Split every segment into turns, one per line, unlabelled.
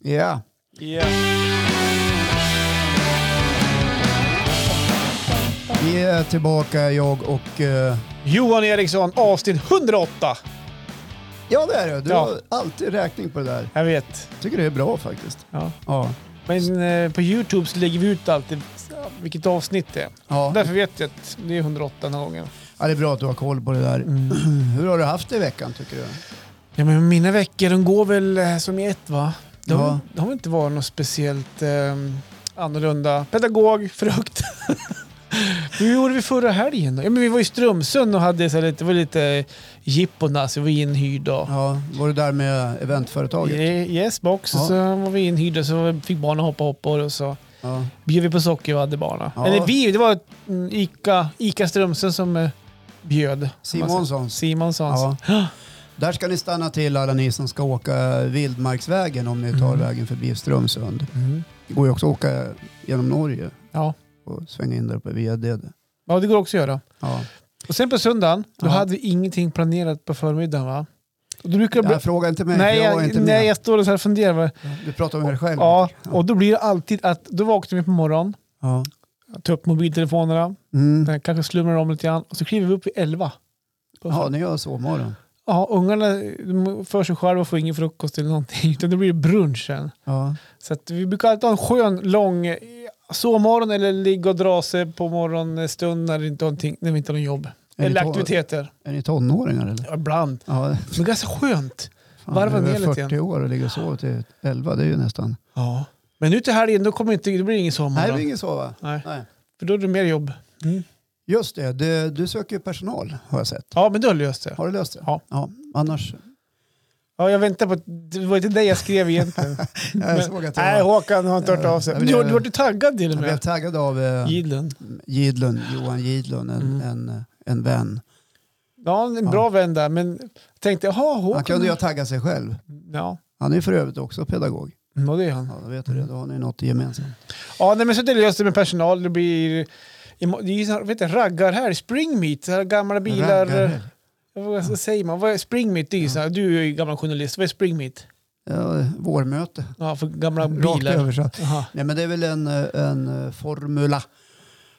Ja. Vi är tillbaka, jag och... eh,
Johan Eriksson, avsnitt 108.
ja, det är det. Du
Ja.
har alltid räkning på det där.
Jag vet.
tycker det är bra faktiskt.
Ja.
Ja.
Men eh, på Youtube så lägger vi ut alltid vilket avsnitt det är.
Ja.
Därför vet jag att det är 108 den här gången.
ja, det är bra att du har koll på det där. Hur har du haft det i veckan tycker du?
Mm. Ja, men mina veckor de går väl eh, som i ett va? De,
Ja.
de har väl inte varit något speciellt eh, annorlunda. Pedagog, frukt. Hur gjorde vi förra helgen då? Ja, men vi var i Strömsund och hade så här lite, det var lite jippona, så vi var inhyrda.
Ja, var du där med eventföretaget?
Ye- Yes box,
Ja.
så var vi inhyrda så fick barnen hoppa hoppor och så
Ja.
bjöd vi på socker och hade barnen.
Ja.
Eller vi, det var mm, Ica, Ica Strömsund som eh, bjöd.
Simonssons.
Simonssons.
Ja. Där ska ni stanna till alla ni som ska åka Vildmarksvägen om ni tar
Mm.
vägen förbi Strömsund.
Mm.
Det går ju också att åka genom Norge
Ja.
och svänga in där uppe via det.
ja, det går också att göra.
Ja.
Och sen på söndagen, då
Ja.
hade vi ingenting planerat på förmiddagen va? Och då brukar det bli...
Jag frågar inte mig,
Nej,
nej, jag var
jag,
inte
nej,
med.
jag står och så här och funderar. va?
Du pratar om dig själv.
Ja, och då blir det alltid att då vaknar vi på morgonen,
Ja.
tar upp mobiltelefonerna,
Mm.
eh, kanske slumrar om lite grann och så kliver vi upp vid elva.
Ja, ni gör sovmorgon.
Ja, ungarna de för sig själva och får ingen frukost eller någonting. Utan det blir brunch sen.
Ja.
Så att vi brukar alltid ha en skön, lång eh, sovmorgon eller ligga och dra sig på morgonstunden när, det inte har någonting- när vi inte har någon jobb.
Är
eller
ni to-
aktiviteter.
Är ni tonåringar eller?
Ja, Ibland.
Ja,
Men det är ganska skönt.
fan,
Varva
du
ner
är
lite Mm.
40
grann.
år och ligger och sover till 11, det är ju nästan...
Ja. Men nu till helgen då kommer inte, det blir ingen
Nej, det
sovmorgon.
blir Mm. ingen sova.
Nej.
Nej.
För då är det mer jobb.
Just det, du, du söker ju personal har jag sett.
Ja, men du har löst det.
Har du löst det?
Ja.
ja annars...
Ja, jag väntar på att det var inte det jag skrev egentligen.
Jag såg att
Nej,
jag,
Håkan har inte hört av sig.
Jag
Men du,
blev-
du vart ju taggad till och
jag blev
med.
taggad av eh,
Gidlen.
Gidlund, Johan Gidlund, en,
Mm.
en, eh, en vän.
Ja, en
Ja.
bra vän där, men jag tänkte, jaha,
Han
Håkan.
kunde ju ha taggat sig själv.
Ja,
Han är ju för övrigt också pedagog.
mm, och det är han.
Ja, då vet du det. Då har ni något gemensamt.
Ja, nej, men så det löste med personal. Det blir... Det är ju så här, vet du, raggar här, spring meet, så här gamla bilar. eh,
Raggare.
Vad vad säger man? Vad är spring meet? Det är ju så här, du är ju gammal journalist, vad är spring meet?
Ja, vårmöte.
Ja, för gamla
Rakt
bilar.
översatt.
Jaha.
Nej, men det är väl en, eh, en eh, formula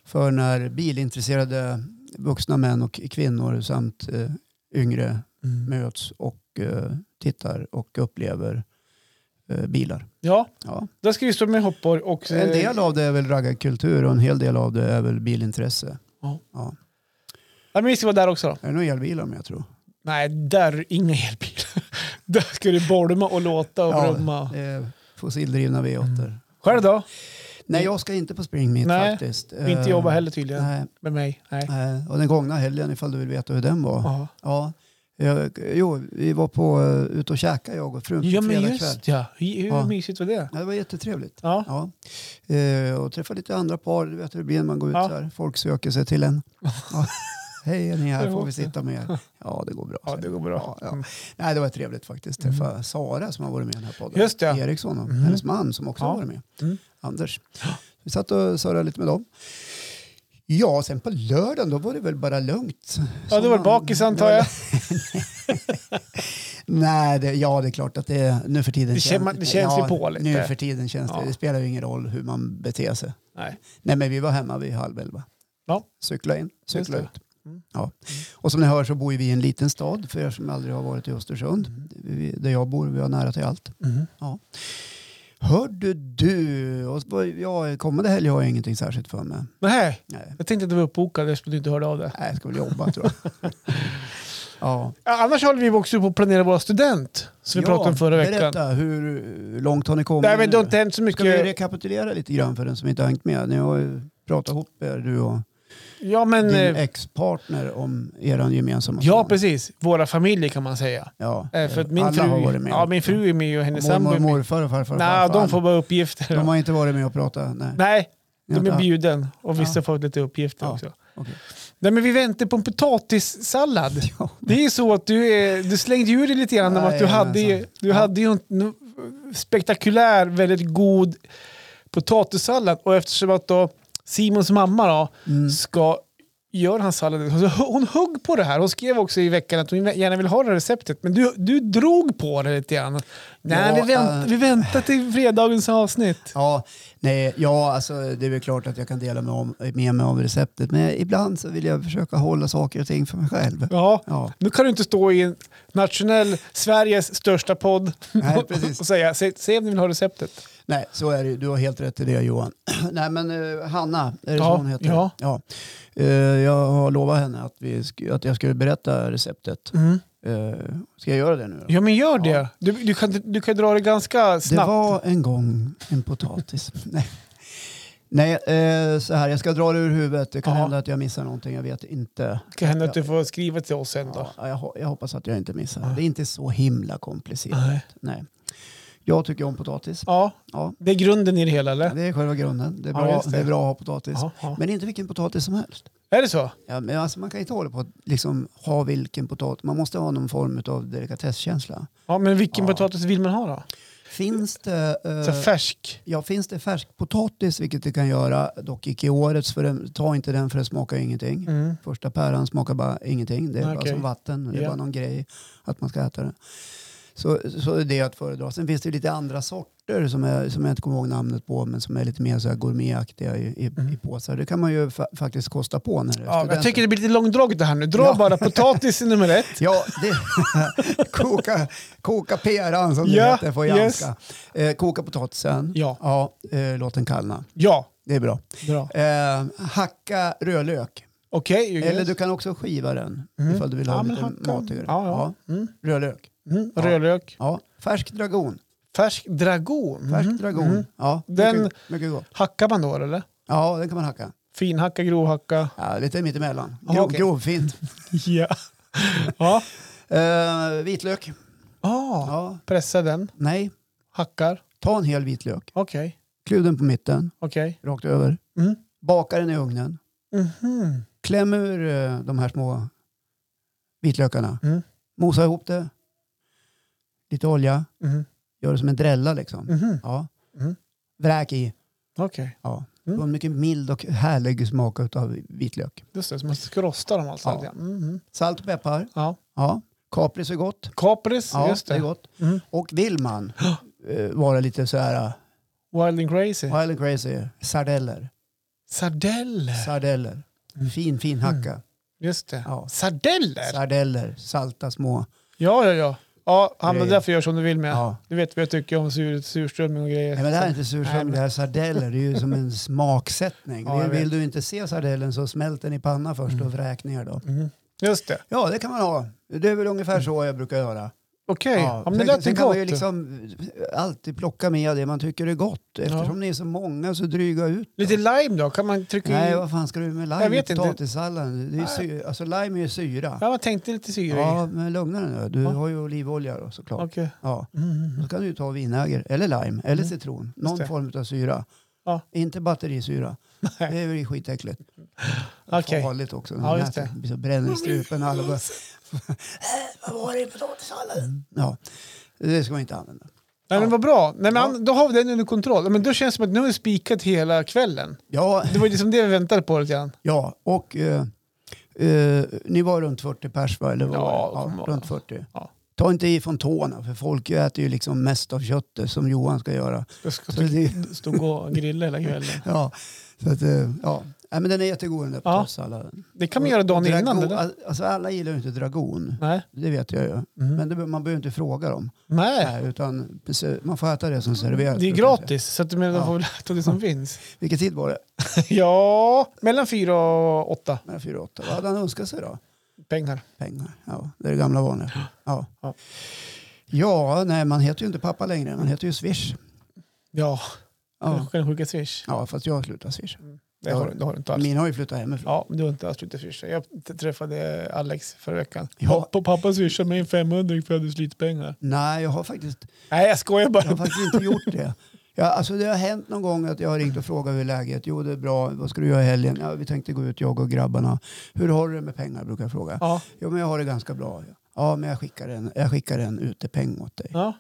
för när bilintresserade vuxna män och kvinnor samt eh, yngre
Mm.
möts och eh, tittar och upplever eh, bilar.
Ja,
Ja.
där ska vi stå med hoppor och... eh,
En del av det är väl raggarkultur och en hel del av det är väl bilintresse.
Ja, men vi ska vara där också
Är
då.
det några elbilar med jag tror?
Nej, där, inga elbilar. där ska du bolma och låta och
Ja.
brumma.
Det är fossildrivna V8.
Själv då?
Nej, jag ska inte på Spring Meet
Mm. Nej,
faktiskt.
Vi inte
Eh,
jobba heller tydligen.
Nej,
Med mig. Nej.
nej. och den gångna helgen ifall du vill veta hur den var.
Ja.
Ja. Eh, Jo, vi var på, eh, ute och käkade jag och frun på
Ja men
fredag
just
kväll.
ja. Hur hur
Ja.
mysigt var det?
Ja, det var jättetrevligt.
Ja.
Ja. Eh, och träffade lite andra par, du vet hur det blir när man går ut
Ja.
så här. Folk söker sig till en. Ja. Hej, är ni här? Får vi sitta med er? Ja, det går bra.
Ja, det går bra. Mm.
Ja, ja. Nej, det var trevligt faktiskt. Träffa Sara som har varit med i den här podden.
Just det.
Eriksson och
Mm.
hennes man som också
Ja.
har varit med.
Mm.
Anders. Vi satt och surrade lite med dem. Ja, sen på lördagen då var det väl bara lugnt.
Ja, du var
Som man-
bakis antar jag.
Nej, det, ja det är klart att det nu för tiden
Det känner man- det känns ju
ja,
på lite.
Nu för tiden känns
Ja.
det. Det spelar ju ingen roll hur man beter sig.
Nej.
Nej, men vi var hemma vid halv elva.
Ja.
Cykla in, cykla
Just
ut.
Mm.
Ja. Och som ni hör så bor ju vi i en liten stad för er som aldrig har varit i Östersund.
Mm.
Vi, där jag bor, vi har nära till allt. Hörde du, och, vad- ja, kommande helg har jag ingenting särskilt för mig.
Nej,
Nej,
jag tänkte att du var uppbokad eftersom du inte hörde av det.
Nej, jag ska väl jobba tror jag. ja.
Ja, Annars håller vi också på att planera våra student som vi
Ja,
pratade om förra veckan.
Berätta, hur långt har ni kommit?
Nej men det har
nu?
inte hänt så
Ska vi
mycket.
rekapitulera lite grann för den som inte har hängt med? Ni har ju pratat ihop er, du och
Ja men...
din
eh,
ex-partner om er gemensamma
Ja
son.
precis, våra familjer kan man säga.
Ja,
Eh, För att min
alla
fru,
har varit med.
Ja, min fru är med och hennes sambo
Mormor,
är med.
morfar och farfar och
Nej,
farfar.
de får bara uppgifter.
de har inte varit med och pratat. Nej.
Nej,
Ni har
de är
inte-
bjuden och vissa
Ja.
får lite uppgifter
Ja,
också.
okej.
Nej men vi väntar på en potatissallad.
Ja.
Det är så att du, är, du slängde ur dig lite grann om att du hade, ju-
Jajamensan.
du
Ja.
hade ju en en spektakulär, väldigt god potatissallad. Och eftersom att då Simons mamma då
Mm.
ska gör han salladen. Hon, sa, hon högg på det här. Hon skrev också i veckan att hon gärna vill ha det här receptet. Men du, du drog på det lite grann. Nej,
Ja,
vi, vänt,
eh.
vi väntar till fredagens avsnitt.
Ja, nej, ja alltså, det är väl klart att jag kan dela med, om, med mig av receptet. Men ibland så vill jag försöka hålla saker och ting för mig själv.
Ja.
Ja,
Nu kan du inte stå i en nationell, Sveriges största podd
Nej,
och-
precis.
och säga "Säg- säg om ni vill ha receptet.
nej, så är det ju. Du har helt rätt i det Johan. nej, men eh, Hanna, är det
Ja,
så hon heter?
ja.
ja. Eh, jag har lovat henne att, vi sk- att jag skulle berätta receptet. Eh, ska jag göra det nu då?
Ja men Mm. gör det.
Ja.
Du, du, kan, du kan dra det ganska
Det
snabbt.
var en gång en potatis. Nej, Nej eh, så här, jag ska dra det ur huvudet. Det kan
Ja.
hända att jag missar någonting, jag vet inte.
Det kan hända att du får skriva till oss sen då.
Ja, jag, ho- jag hoppas att jag inte missar.
Ja.
Det är inte så himla komplicerat.
Nej.
Nej. Jag tycker om potatis.
Ja,
Ja.
det är grunden i det hela eller?
Det är själva grunden. Det är
Ja,
bra,
just det.
det. är bra att ha potatis.
Ja, ja.
Men inte vilken potatis som helst.
Är det så?
Ja, men alltså man kan inte hålla på att liksom ha vilken potatis. Man måste ha någon form av delikatesskänsla.
Ja, men vilken
Ja.
potatis vill man ha då?
Finns det, eh,
Så här färsk?
ja, finns det färskpotatis, vilket det kan göra, dock icke i årets, för den, ta inte den för den smakar ingenting.
Mm.
Första päron smakar bara ingenting. Det är bara
Okej.
som vatten. Det är
Ja.
bara någon grej att man ska äta det. Så, så är det att föredra. Sen finns det ju lite andra sorter som jag, som jag inte kommer ihåg namnet på men som är lite mer så här gourmetaktiga i, i,
Mm.
i påsar. Det kan man ju fa- faktiskt kosta på när det är
Ja,
studenter.
jag tycker det blir lite långdraget det här nu. Dra
Ja.
bara potatis i nummer ett.
Ja, det, koka, koka peran som det
Ja,
heter på
yes.
janska. Eh, koka potatisen.
Ja.
eh, låt den kallna.
Ja,
Det är bra.
bra.
Eh, hacka rödlök.
Okej. Okay,
Eller du kan också skiva den
Mm.
ifall du vill ha
Ja, men
lite
hacka.
matigare.
Ja, ja. Mm.
Rödlök.
Mm.
Ja.
Rödlök.
Ja. Färsk dragon.
Färsk dragon.
Färsk
Mhm.
dragon.
Mhm.
Ja,
Mm-hmm, Den-
mycket, mycket gott.
Hackar man då eller?
Ja, den kan man hacka.
Finhacka, grovhacka.
Ja, lite mittemellan.
Ja,
Grov,
okej.
Grovfint.
Ja. ja.
Eh, vitlök.
Ah,
Ja,
pressa den.
nej,
Hackar.
ta en hel vitlök.
Okej.
Kluv den på mitten,
Okej.
rakt över.
Mm.
Baka den i ugnen.
Mhm.
Kläm ur eh, de här små vitlökarna.
Mm.
Mosa ihop det. Lite olja.
Mhm.
Gör det som en drälla liksom.
Mhm.
Ja.
Mm.
Vräk i.
Okej.
Ja.
Mm.
Det var en mycket mild och härlig smak av vitlök.
Just det, så man ska rosta dem alltså.
Ja.
Ja. Mhm.
Salt och peppar.
ja.
Ja. Kapris är gott.
Kapris,
Ja,
just
det är
det.
gott.
Mm.
Och vill man eh, vara lite så här eh,
Wild and crazy.
wild and crazy, sardeller.
Sardeller.
Sardeller.
Mm.
Fin, fin hacka.
Just det.
Ja.
Sardeller?
Sardeller, salta små.
Ja, ja, ja. Ja, han var
Grejer.
därför gör som du vill med.
Ja.
Du vet vad jag tycker om sur, surströmming och grejer.
Nej, men det här är inte surströmming, det här är sardeller. Det är ju som en smaksättning.
Ja, jag vet. Mm.
Vill du inte se sardellen så smält den i panna först och vräk ner då.
Mhm. Just det.
Ja, det kan man ha. Det är väl ungefär så jag brukar göra.
Mm. Okej. Ja.
Ja.
men det
Sen,
lät ju
sen kan
gott.
man ju liksom alltid plocka med det man tycker är gott. Eftersom ni är så många så dryga ut. då.
Lite lime då? Kan man trycka
Nej,
i?
vad fan ska du med
Jag
lime i
vet inte.
potatissalladen? Det är ju sy- alltså lime är ju syra.
Ja, jag tänkte lite syre i.
Ja, men lugna dig nu. Du
Ja.
har ju olivolja då såklart.
Okej.
Ja.
Mhm.
Då kan du ju ta vinäger eller lime eller
Mm.
citron. Någon
det.
form av syra.
Ja.
Inte batterisyra.
Nej.
Det är väl skitäckligt.
Okej.
Farligt också.
Ja,
Ja,
just det.
det blir så bränner i strupen. Alla bara,
Äh,
vad var det i potatissalladen? Mm. Ja, det ska man inte använda.
Nej, men vad bra. Nej, men
Ja.
an- Då har vi den under kontroll. Men då känns det som att nu har vi spikat hela kvällen.
Ja,
Det var ju liksom det vi väntade på lite grann.
ja och eh, eh, ni var runt 40 pers va? Eller vad
Ja, det
var
kommer
det?
vara.
ja, runt 40.
Ja.
Ta inte i från tårna för folk äter ju liksom mest av köttet som Johan ska göra.
Jag ska
Så det,
stå och grilla hela kvällen.
ja, så att, eh, ja. Nej, men den är jättegod den där
Ja.
potatissalladen.
Det kan man göra dagen
Dragon-
innan eller?
all- Alltså alla gillar ju inte dragon.
Nej.
Det vet jag ju.
Mm.
Men det, be- man behöver inte fråga dem.
Nej.
Nej, utan precis, man får äta det som serveras.
Det är
brukar jag säga.
gratis, så att du menar
Ja.
får väl äta det som finns.
Vilken tid var det?
Ja, mellan fyra och åtta
Mellan fyra och åtta. Vad hade han önskat sig då?
pengar.
Pengar. Ja, det är det gamla vanliga. Ja.
Ja.
ja, nej, man heter ju inte pappa längre. Man heter ju Swish.
Ja,
Ja,
kan du skicka swish?
ja fast jag har slutat Swish.
Det har, du- det har du inte alls.
Mina har ju flyttat hemifrån.
Ja, men du har inte alls slutat swisha. Jag t- träffade Alex förra veckan.
Ja.
Pappa, pappa swishade mig en 500 för jag hade slitit pengar.
Nej, jag har faktiskt,
Nej, jag skojar
jag har
bara.
faktiskt inte gjort det. Ja, alltså det har hänt någon gång att jag har ringt och frågat hur läget Jo, det är bra. Vad ska du göra i helgen? Ja, vi tänkte gå ut, jag och grabbarna. Hur har du det med pengar? brukar jag fråga.
Ja,
Jo, men jag har det ganska bra. Ja, men jag skickar en, jag skickar en utepeng åt dig.
ja.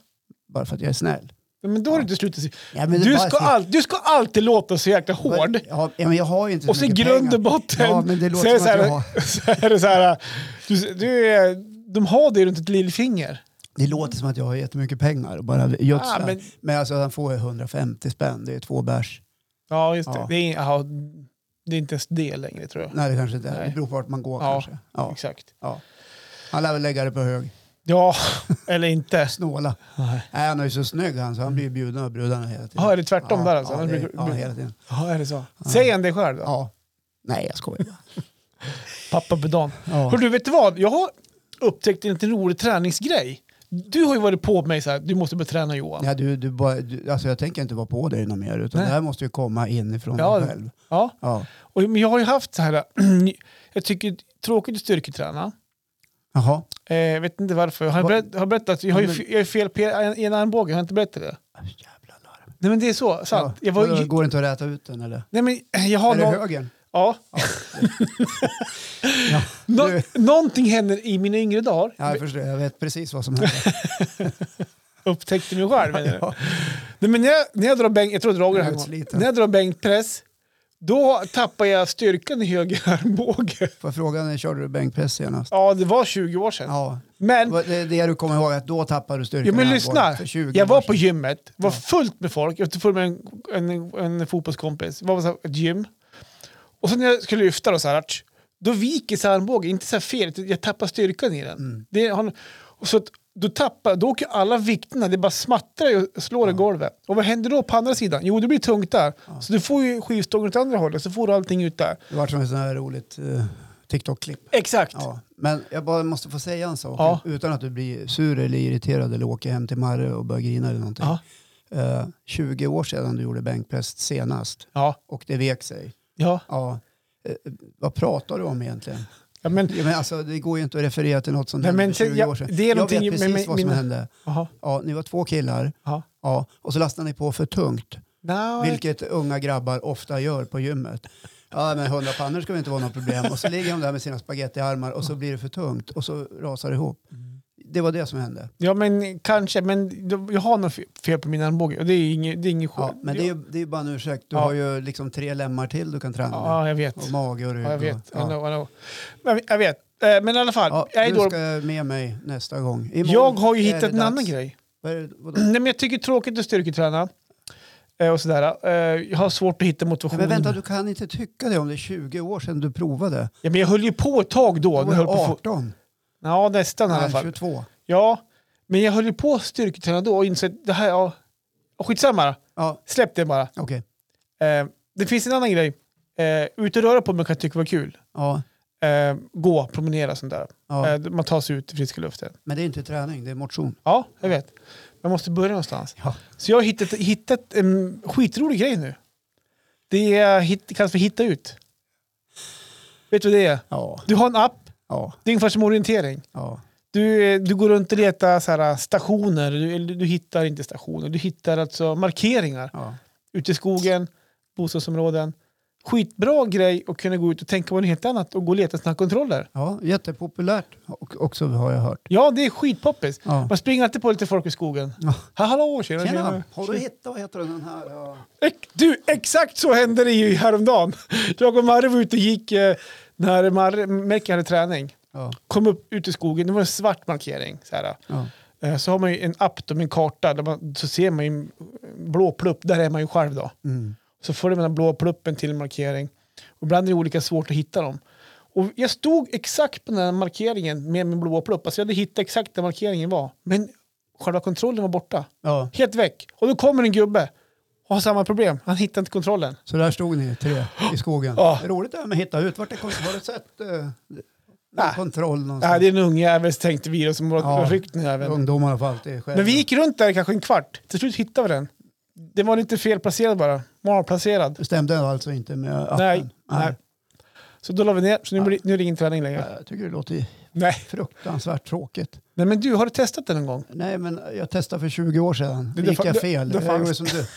Bara för att jag är snäll.
Men då är det inte slutet.
Ja, men det
Du
bara
ska,
se-
all, du ska alltid låta så jäkla hård.
Ja, ja, men jag har ju inte så
Och så i
mycket
grund
pengar.
och botten
Ja, men det
så,
låter
är
som
det
att
så, här,
jag har...
så är det så här, du, du är, de har det runt ett lillfinger.
Det låter som att jag har jättemycket pengar och bara gödslar.
Ah, men-
men... alltså han får ju 150 spänn, det är två bärs.
Ja, just det.
Ja.
Det, är, ja, det är inte ens det längre tror jag.
Nej det kanske inte är,
Nej.
det beror på vart man går
Ja.
kanske. Ja.
Exakt.
Ja. Han lär väl lägga det på hög.
Ja, eller inte.
Snåla.
Nej.
Nej, han är ju så snygg han så han blir ju bjuden av brudarna hela tiden.
Ja, är det tvärtom där alltså?
Ja,
Annars
det,
brukar-
ja, hela tiden.
Ja, är det så? Säger han det själv då?
Ja. Nej, jag skojar bara.
Pappa på dagen.
Ja.
Hör du, vet du vad? Jag har upptäckt en liten rolig träningsgrej. Du har ju varit på mig så här, du måste börja träna Johan.
Ja, du, du bara, du, alltså jag tänker inte vara på dig något mer utan
Nej.
det här måste ju komma inifrån
Ja.
dig själv.
Ja.
Ja.
Och, men jag har ju haft så här, jag tycker tråkigt att styrketräna.
Jaha.
Eh, Jag vet inte varför. Har jag,
Va-
berätt, har jag berättat? Jag har ju
Ja, men-
f- jag är fel p- i en armbåge, har jag inte berättat det?
Jävla larm.
Nej men det är så, sant.
Ja.
Jag var,
Går det inte att räta ut den eller?
nej men jag har
är det
någon,
högen?
ja.
Ja.
Nå,
Du-
någonting händer i mina yngre dagar.
Ja, jag förstår. Jag vet precis vad som händer.
Upptäckte mig själv. menar jag. Nej, men när, jag, när jag drar bänk, jag tror jag drog det här
Jag är
gången.
utsliten.
När jag drar bänkpress, då tappar jag styrkan i höger armbåge.
Får jag fråga, när körde du bänkpress senast?
Ja, det var 20 år sedan.
Ja.
Men
Det är det du kommer ihåg, att då tappade du styrkan.
Ja, men
i
lyssna.
armbågen för 20
Jag
år
var på
sedan.
gymmet, var fullt med folk. Jag var full med en, en, en fotbollskompis. Det var så här, ett gym. Och sen när jag skulle lyfta då, så här, arch, då viker så här armbågen, inte så här fel, utan jag tappar styrkan i den.
Mm.
Det, har- och så att, då, tappar, då åker alla vikterna, det bara smattrar och slår i golvet. Och vad händer då på andra sidan? Jo, det blir tungt där. Så du får ju skivstången åt andra hållet, så får du allting ut där.
Det var som ett sånt här roligt eh, TikTok-klipp.
Exakt.
Ja. Men jag bara måste få säga en sak
Ja.
utan att du blir sur eller irriterad eller åker hem till Marre och börjar grina eller någonting.
Ja.
Eh, 20 år sedan du gjorde bänkpress senast
Ja.
och det vek sig.
ja.
Ja. Eh, vad pratar du om egentligen?
ja men,
Ja, men alltså, det går ju inte att referera till något som
Nej,
hände
men
för 20
jag-
år sedan.
det
jag
är
vet
någonting med-
precis
med-
vad som
mina-
hände.
aha,
Ja, ni var två killar.
aha.
Ja, och så lastar ni på för tungt,
Nej.
vilket unga grabbar ofta gör på gymmet. Ja, men hundra pannor ska väl inte vara något problem. Och så ligger de där med sina spagettiarmar och så blir det för tungt och så rasar det ihop.
Mm.
Det var det som hände.
Ja, men kanske. Men jag har något fe- fel på min armbåge. Och det är inget, det är inget
Ja,
skämt.
men det är ju det är ju bara en ursäkt. Du
Ja.
har ju liksom tre lemmar till du kan träna.
Ja, jag vet.
Och mage och rygg.
Ja, jag vet.
och-
I
Ja.
know, I know. Men, jag vet. Eh, Men i alla fall.
Ja,
jag, är
du
då,
ska med mig nästa gång. Imorgon
jag har ju
är
hittat
det
en
dags.
annan grej.
Vad är det, vadå?
Nej, men jag tycker det är tråkigt att styrketräna. eh, Och sådär. Eh, Jag har svårt att hitta
Nej,
motivation.
men vänta, du kan inte tycka det om det är 20 år sedan du provade.
ja, men jag höll ju på ett tag då.
Då
när
var
jag
du
höll på att få-
18,
Ja, nästan i alla
nej,
fall.
22.
Ja, men jag höll ju på att styrketräna då och insåg att det här, ja. och Skitsamma,
Ja,
släpp det bara.
okej.
Eh, Det finns en annan grej. Eh, Ut och röra på mig kan jag tycka var kul.
Ja,
eh, gå, promenera sånt där.
ja.
Eh, man tar sig ut i friska luften.
Men det är inte träning, det är motion.
Ja, jag vet. Man måste börja någonstans.
Ja.
Så jag har hittat, hittat en skitrolig grej nu. Det är, hit, kallas för hitta ut. Vet du vad det är?
Ja,
Du har en app,
ja,
det är ungefär som orientering.
ja.
Du, eh, du går runt och letar så här, eh, stationer, du, eller du hittar inte stationer, du hittar alltså markeringar
ja.
ute i skogen, bostadsområden. Skitbra grej att kunna gå ut och tänka på något helt annat och gå och leta sina kontroller.
ja jättepopulärt och, också har jag hört.
Ja, det är skitpoppis.
Ja.
Man springer alltid på lite folk i skogen.
Ja.
Ha, hallå, tjena, tjena.
Tjena, har du hittat vad heter den här? Ja.
Ex- Du, exakt så hände det ju häromdagen. Jag och Marre var ute och gick eh, när Marre, Mäcki hade träning.
Ja.
Kom upp ut i skogen, det var en svart markering. Så, här.
Ja.
Eh, så har man ju en app då, med en karta, där man, så ser man ju en blå plupp, där är man ju själv då.
Mm.
Så följer man den blå pluppen till en markering. Och ibland är det olika svårt att hitta dem. Och jag stod exakt på den här markeringen med min blå plupp. Alltså jag hade hittat exakt där markeringen var. Men själva kontrollen var borta.
ja.
Helt väck. Och då kommer en gubbe och har samma problem. Han hittar inte kontrollen.
Så där stod ni tre i skogen.
Ja.
Det är roligt det här med att hitta ut. Vart är kon- har du sett eh, någon
Nej.
kontroll
Nej,
någonstans?
Äh, det är en ungjävel tänkte vi då, som har
Alltså. Ja.
ryckt den även.
Ungdomarna får alltid själv.
Men vi gick runt där i kanske en kvart. Till slut hittade vi den. Den var inte felplacerad bara. Malplacerad.
Det stämde alltså inte med appen?
Nej, nej. Så då la vi ner. Så nu, blir, nu är det ingen träning längre.
Nej, Jag tycker det låter
Nej.
fruktansvärt tråkigt.
Nej, men du, har du testat den någon gång?
Nej, men jag testade för 20 år sedan.
Det-
Det,
det
gick
fa-
jag
det-
fel.
det
jag
fanns-
gjorde som du.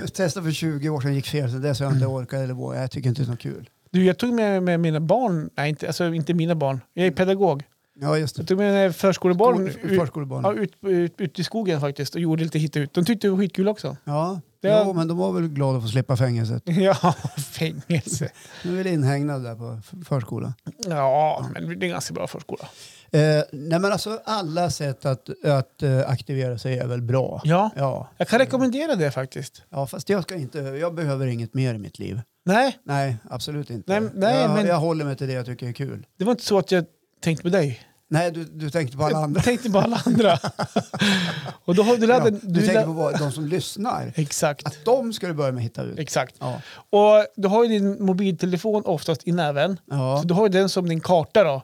Jag testade för 20 år sedan, gick fel. Sen dess har jag inte orkat eller vågat. Jag tycker inte det är så kul.
Du, jag tog med, med mina barn, nej inte, alltså inte mina barn, jag är pedagog.
Ja, just
Jag
det.
tog med en förskolebarn
Skol-
ut,
Förskolebarn.
ja, ut, ut, ut i skogen faktiskt och gjorde lite hit och ut. De tyckte det var skitkul också.
Ja,
Det-
jo, men de var väl glada att få slippa fängelset.
Ja, fängelse.
De är väl inhägnade där på f- förskolan.
Ja, men det är en ganska bra förskola.
Eh, nej, men alltså alla sätt att, att eh, aktivera sig är väl bra.
Ja,
Ja.
jag kan rekommendera det faktiskt.
ja, fast jag, ska inte, jag behöver inget mer i mitt liv.
Nej,
Nej, absolut inte.
Nej, nej,
jag,
men-
jag håller mig till det jag tycker är kul.
det var inte så att jag tänkte på dig.
Nej, du, du tänkte på alla andra.
Jag tänkte på alla andra. och då har du
Ja,
laddat...
du tänker på vad, de som lyssnar.
Exakt,
Att de ska du börja med att hitta ut.
exakt.
Ja.
Och du har ju din mobiltelefon oftast i näven.
Ja.
Så du har ju den som din karta då.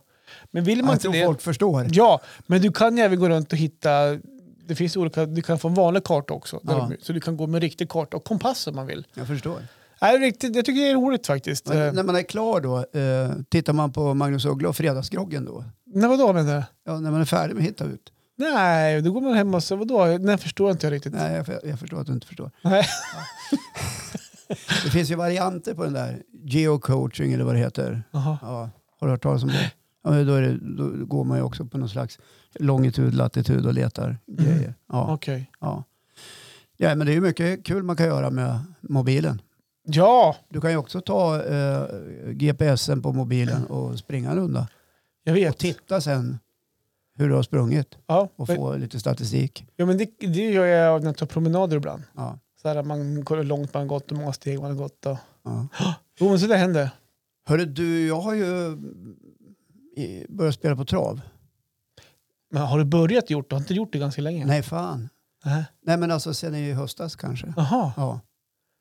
Men vill man
Jag
inte
tror
det...
folk förstår.
Ja, men du kan ju även gå runt och hitta... Det finns olika, du kan få en vanlig karta också. där
Ja.
de- Så du kan gå med en riktig karta och kompass om man vill.
Jag förstår.
Nej, riktigt, jag tycker det är roligt faktiskt. Eh,
Men
Men,
när man är klar då, eh, tittar man på Magnus Uggla och Fredagsgroggen då?
Nej, vadå menar du?
Ja, när man är färdig med att hitta ut?
Nej, då går man hem och så, vadå? Nej, förstår inte jag riktigt.
Nej, jag, för- jag förstår att du inte förstår.
Nej.
Det finns ju varianter på den där. Geocoaching eller vad det heter.
Jaha.
Ja, har du hört talas om det? Ja, men då, är det, då går man ju också på någon slags longitud, latitud och letar
Mm.
grejer. Ja,
Okej.
ja. ja, men det är ju mycket kul man kan göra med mobilen.
Ja,
Du kan ju också ta eh, GPSen på mobilen och springa en runda.
jag
Och
vet.
titta sen hur du har sprungit
Ja,
och
men-
få lite statistik.
ja, men det, det gör jag när jag tar promenader ibland.
Ja,
Så här att man kollar hur långt man har gått och hur många steg man har gått. Och...
ja.
Jo, men så det händer.
Hörru du, jag har ju eh, börjat spela på trav.
Men har du börjat gjort det? Har inte gjort det ganska länge?
Nej, fan.
Nej.
Nej, men alltså sen i höstas kanske.
Jaha.
Ja.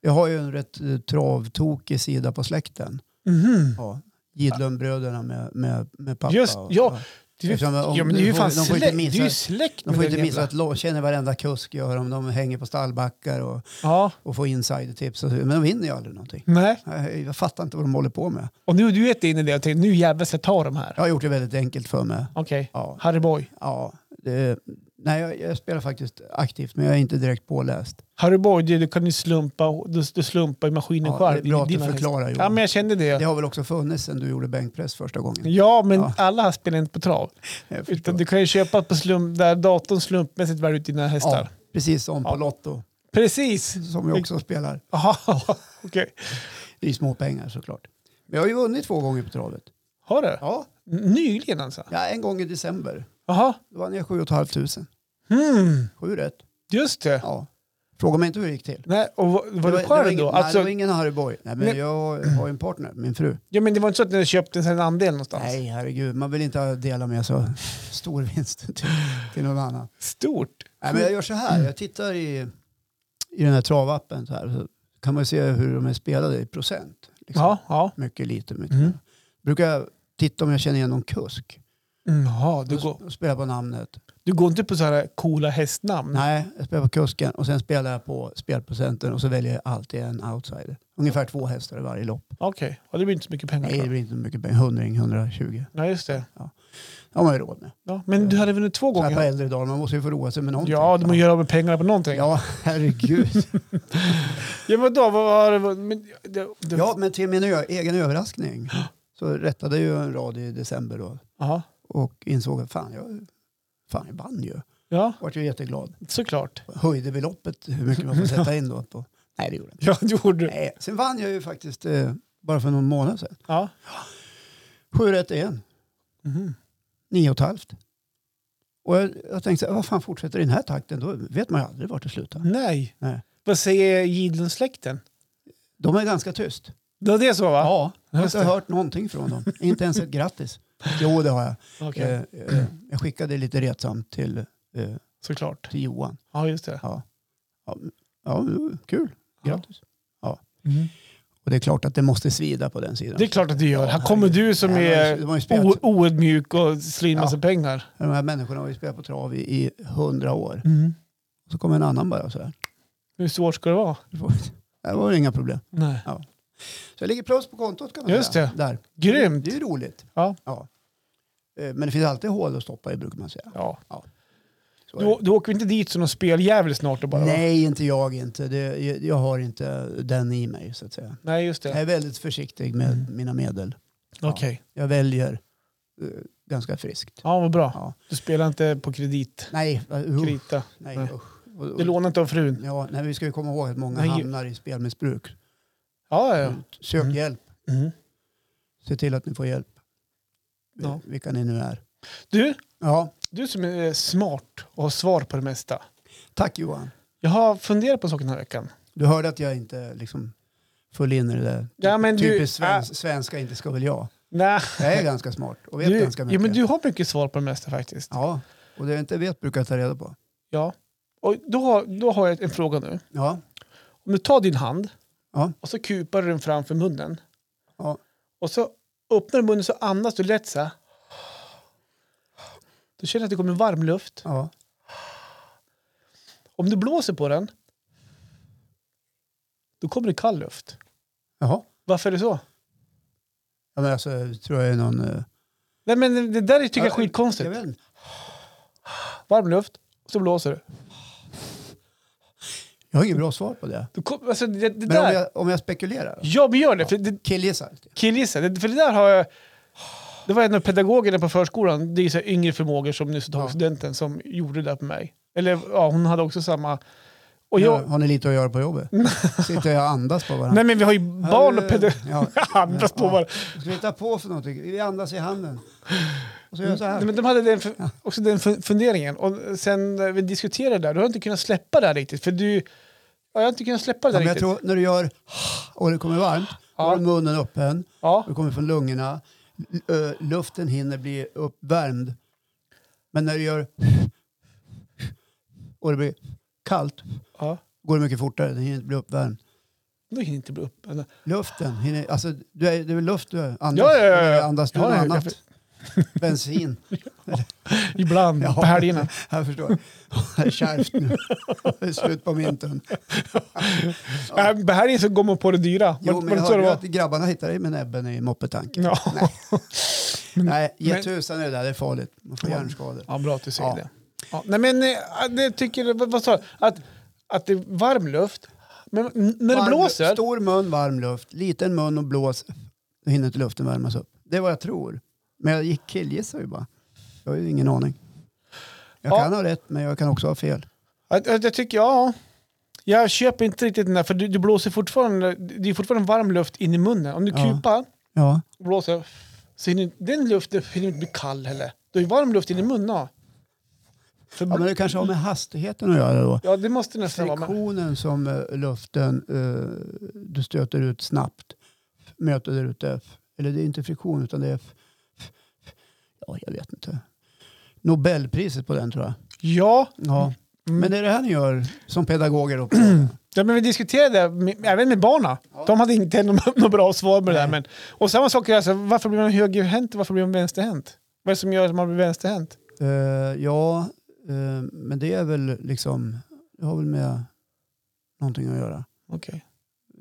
Jag har ju en rätt eh, travtokig sida på släkten.
Mhm.
Ja. Gidlundbröderna med, med, med pappa.
Just-
och,
ja. Det är ju-
Eftersom, om
Ja, men det är
du
ju
får-
fan
de får
släkt.
inte
Det är ju
missa,
släkt
de får
med
inte
den
missa
jävla-
att lo- känner varenda kusk gör de. De hänger på stallbackar och,
Ja,
och får insidertips. och så- Men de vinner ju aldrig någonting.
nej.
Jag, jag fattar inte vad de håller på med.
Och nu du vet in i det och tänkte nu jävlar ska jag ta de här.
Jag har gjort det väldigt enkelt för mig.
Okej,
Ja,
Harry Boy.
ja, det, nej, jag, jag spelar faktiskt aktivt men jag är inte direkt påläst.
Harry Boy, du, du kan ju slumpa, du, du slumpar i maskinen
Ja, det
själv.
är bra att du
Dina hästar.
förklarar
Ja,
Johan.
men jag kände det.
Det har väl också funnits sedan du gjorde bänkpress första gången?
Ja, men
Ja.
alla här spelar inte på trav.
Jag förstår.
Utan du kan ju köpa på slump, där datorn slumpmässigt väljer ut dina hästar.
ja, precis som på
Ja.
Lotto
Precis!
som jag också spelar.
Aha, okej.
Det är ju små pengar såklart. Men jag har ju vunnit två gånger på travet.
Har du?
Ja,
Nyligen alltså?
ja en gång i december.
Jaha.
Då vann jag 7 500.
Hmm.
Sju rätt.
Just det.
Ja. Fråga mig inte hur det gick till.
Nej, och var, var
det
du själv
ingen,
då?
Nej, det
Alltså,
var ingen Harry Boy. Nej, men
Nej.
jag har ju en partner, min fru.
ja, men det var inte så att ni köpte en andel någonstans?
Nej, herregud. Man vill inte dela med sig av stor vinst till, till någon annan.
Stort.
Nej, men jag gör så här. Jag tittar i, i den här travappen. Så här, så kan man ju se hur de är spelade i procent. Liksom.
Ja, ja.
Mycket, lite, mycket.
Mm.
Brukar jag titta om jag känner igen någon kusk.
Mm, Jaha, du
Du
går,
går. Spelar på namnet.
du går inte på så här coola hästnamn?
Nej, jag spelar på kusken och sen spelar jag på spelprocenten och så väljer jag alltid en outsider. Ungefär två hästar i varje lopp.
Okej, ja, det blir inte så mycket pengar
Nej, det
kvar.
blir inte mycket pengar. 100, 120.
Nej, just det.
Det har man ju råd med.
Ja, men du hade vunnit två
Mm. Så här på
gånger?
äldre dagar, man måste ju få roa sig med någonting.
Ja, du måste göra av med pengarna på någonting. Ja,
Ja, herregud.
men då, vad har det varit? Men, det, det,
ja, men till min ö- egen överraskning så rättade jag ju en rad i december då
Aha.
och insåg att fan, jag, fan, jag vann ju.
ja,
Vart ju jätteglad.
såklart.
Höjde beloppet, hur mycket man får sätta in då. På. Nej, det gjorde jag inte.
Ja, det gjorde du.
Nej. Sen vann jag ju faktiskt eh, bara för någon månad sedan.
Ja.
Sju rätt igen,
Mhm.
nio och ett halvt. Och jag, jag tänkte så här, vad fan fortsätter i den här takten, då vet man ju aldrig vart det slutar.
Nej.
Nej.
Vad säger Gidlundsläkten?
De är ganska tyst.
Ja, det är så va?
Ja, jag har
just
inte
det.
hört någonting från dem. Inte ens ett grattis. Jo, det har jag.
Okej,
Eh, eh, jag skickade lite retsamt till, eh,
såklart.
till Johan.
Ja, just det.
Ja. Ja, m- ja, m- kul. Grattis.
Mm.
Och det är klart att det måste svida på den sidan.
Det är klart att du gör.
Ja,
Här kommer du som
Nej, de har ju-
är
de har ju spelat,
o- oödmjuk och slår in
Ja.
massa pengar.
De här människorna har ju spelat på trav i, i hundra år.
Mm.
Och så kommer en annan bara så här.
Hur svårt ska det vara?
Det var- Det var inga problem.
Nej.
Så jag ligger plus på kontot kan man
Just
säga.
det.
Där.
Grymt!
Det är ju roligt.
Ja.
Eh, Men det finns alltid hål att stoppa i brukar man säga.
Ja.
Så är det.
Du, du åker inte dit som någon speljävel snart och bara va?
Nej, inte jag inte. Det, jag, jag har inte den i mig så att säga.
Nej, just det. Mm.
Jag är väldigt försiktig med mina medel.
Okej.
Jag väljer eh, ganska friskt.
Ja, vad bra.
Ja.
Du spelar inte på kredit.
Nej, uh,
Krita.
nej
Nej.
usch. Och-
Du lånar inte av frun.
Ja, nej, vi ska ju komma ihåg att många
Nej.
hamnar i spelmissbruk.
Ja, ja.
Sök
Mm.
hjälp.
Mm.
Se till att ni får hjälp.
Ja.
Vilka ni nu är.
Du,
Ja,
du som är smart och har svar på det mesta.
tack Johan.
Jag har funderat på saker den här veckan.
Du hörde att jag inte liksom föll in i det där. typ-
Ja, men du- äh.
Typiskt svensk, svenska inte ska väl jag.
Nej,
Jag är ganska smart och vet
du,
ganska mycket.
ja, men du har mycket svar på det mesta faktiskt.
Ja, och det jag inte vet brukar jag ta reda på.
Ja. Och då har, då har jag en fråga nu.
Ja,
Om du tar din hand
Ja.
och så kupar du den framför munnen.
Ja.
Och så öppnar du munnen så andas du lätt så här. Du känner att det kommer varm luft.
ja.
Om du blåser på den, då kommer det kall luft.
Jaha.
Varför är det så?
Ja, men alltså, jag tror jag är någon... eh,
Nej, men det där tycker jag är
Ja,
skitkonstigt.
Jag vet inte.
Varm luft, och så blåser du.
Jag har inget bra svar på det.
du kom, alltså, det, det
Men om
där,
jag, om jag spekulerar? då?
Ja, men gör det. För det
Killgissar? lite.
killgissa. Det, för det där har jag... Det var en av pedagogerna på förskolan, det är så här yngre förmågor som nyss tog
Ja.
studenten, som gjorde det där på mig. Eller ja, hon hade också samma... Och
Ja,
jag,
Har ni lite att göra på jobbet? Sitter jag och andas på varandra?
Nej men vi har ju barn och pedagoger.
Ja.
Andras på
Ja.
varandra.
Vad Ska vi ta på för någonting? Vi andas i handen. Och så gör jag så
Nej,
här.
Men de hade den, fu- också den fu- funderingen. Och sen när vi diskuterade det där, då har jag inte kunnat släppa det här riktigt. För du... Ja, jag har inte kunnat släppa det
Ja,
där
men jag
riktigt.
tror när du gör och det kommer varmt, då
Ja.
har du munnen öppen,
Ja.
och det kommer från lungorna, L- ö, luften hinner bli uppvärmd. Men när du gör och det blir kallt,
ja.
går det mycket fortare, den hinner inte bli uppvärmd.
Då hinner inte bli upp. Ja,
Luften hinner, alltså du är, det är väl luft du andas?
ja, ja, ja.
Eller Andas du
Ja,
något
ja, jag
annat? Bensin?
Ibland,
Ja.
på helgerna.
Jag förstår. Det är kärvt nu. Det är slut på mynten.
Ja. Äh, På helgen så går man på det dyra.
Jo,
Var-
men
var det
jag
så det
hörde ju
var?
att grabbarna hittade dig med näbben i moppetanken.
Ja.
Nej, ge
men-
tusan i det där. Det är farligt. Man får hjärnskador.
Ja, bra att du säger
Ja.
det. Ja, nej, men eh, det tycker jag, vad vad sa du? Att, att det är varm luft, men n- när det
Varm-
blåser,
Stor mun, varm luft. Liten mun och blås. Då hinner inte luften värmas upp. Det är vad jag tror. Men jag gick killgissar ju bara. Jag har ju ingen aning. Jag
Ja.
kan ha rätt, men jag kan också ha fel.
att, att jag tycker, ja, jag köper inte riktigt den där, för du, du blåser fortfarande, det är fortfarande varm luft in i munnen. Om du
Ja.
kupar
Ja,
och blåser, så hinner, den luften hinner inte bli kall heller. Du har ju varm luft in i munnen. ja. För,
ja
ja,
men det kanske har med hastigheten att göra då.
det måste nästan vara. Men,
Friktionen som eh, luften eh, du stöter ut snabbt möter där ute. F- Eller det är inte friktion utan det är... F, f, f, ja, jag vet inte. Nobelpriset på den tror jag.
ja,
Ja.
Mm.
Men det är det här ni gör som pedagoger. Då.
Ja, men vi diskuterade det med, även med barnen. De hade inte något, något bra svar på det där. Men, och samma sak, är alltså, varför blir man högerhänt och varför blir man vänsterhänt? Vad är det som gör att man blir vänsterhänt?
Eh, ja, eh, men det är väl liksom... Det har väl med någonting att göra.
Okej.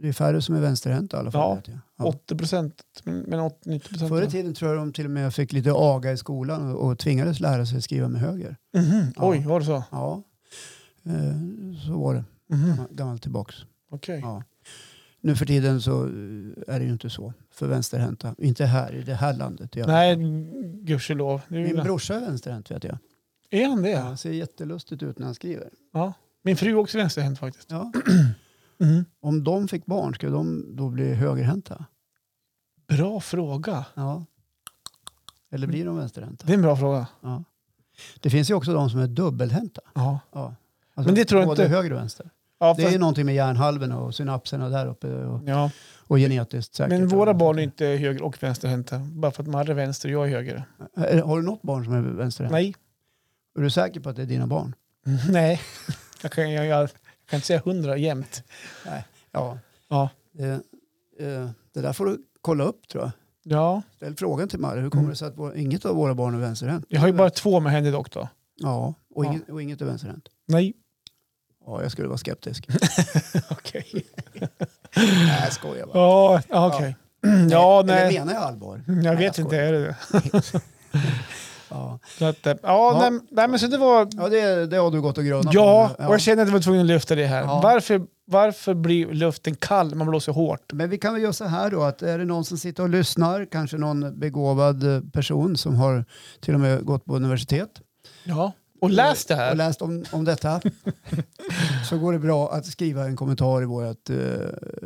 Det är färre som är vänsterhänta i alla fall.
Ja.
vet jag. Ja.
80 procent, men 80-90 procent.
Förr i tiden tror jag de till och med fick lite aga i skolan och, och tvingades lära sig skriva med höger.
Mhm. Oj, var det så?
Ja, eh, så var det
Mhm.
gammal- gammalt tillbaks.
Okej.
Ja. Nu för tiden så eh, är det ju inte så för vänsterhänta. Inte här i det här landet. i alla
Nej,
fall.
gudskelov. Det är ju-
Min brorsa är vänsterhänt vet jag.
Är han det? Ja.
Han ser jättelustigt ut när han skriver.
Min fru är också vänsterhänt faktiskt.
Ja.
Mhm.
Om de fick barn, skulle de då bli högerhänta?
Bra fråga.
Ja. Eller blir de vänsterhänta?
Det är en bra fråga.
Ja. Det finns ju också de som är dubbelhänta.
Ja.
Ja. Alltså
Men det tror jag
både
inte-
höger och vänster.
Ja,
Det är ju någonting med hjärnhalvorna och synapserna där uppe och,
ja.
och genetiskt säkert.
Men våra barn är inte höger och vänsterhänta. Bara för att Marre är vänster och jag är höger.
Eh, Har du något barn som är vänsterhänt?
Nej.
Är du säker på att det är dina barn?
Nej, jag kan, jag, jag kan inte säga hundra jämt.
Ja.
Ja.
Det, eh, det där får du kolla upp tror jag.
Ja,
Ställ frågan till Marre. Hur
Mm.
kommer det sig att vår, inget av våra barn är vänsterhänt?
jag har ju bara två med henne dock då.
Ja, och
Ja.
inget, och inget är vänsterhänt.
Nej,
Ja, jag skulle vara skeptisk.
okej.
nej, jag skojar bara.
Ja, ja, okej. Mm, Ja,
Eller
nej.
menar jag allvar?
Jag
Nej,
vet inte,
skojar.
är det det?
Ja,
Så att, eh, Ja,
Ja.
nej, nej, men så det var...
ja det, det har du gått och grönat
Ja,
på.
och jag känner att jag var tvungen att lyfta det här.
Ja.
Varför varför blir luften kall när man blåser hårt?
Men vi kan väl göra så här då, att är det någon som sitter och lyssnar, kanske någon begåvad eh, person som har till och med gått på universitet
Ja. Och läs det
och
här.
läst om, om detta, så går det bra att skriva en kommentar i vårt eh, eh,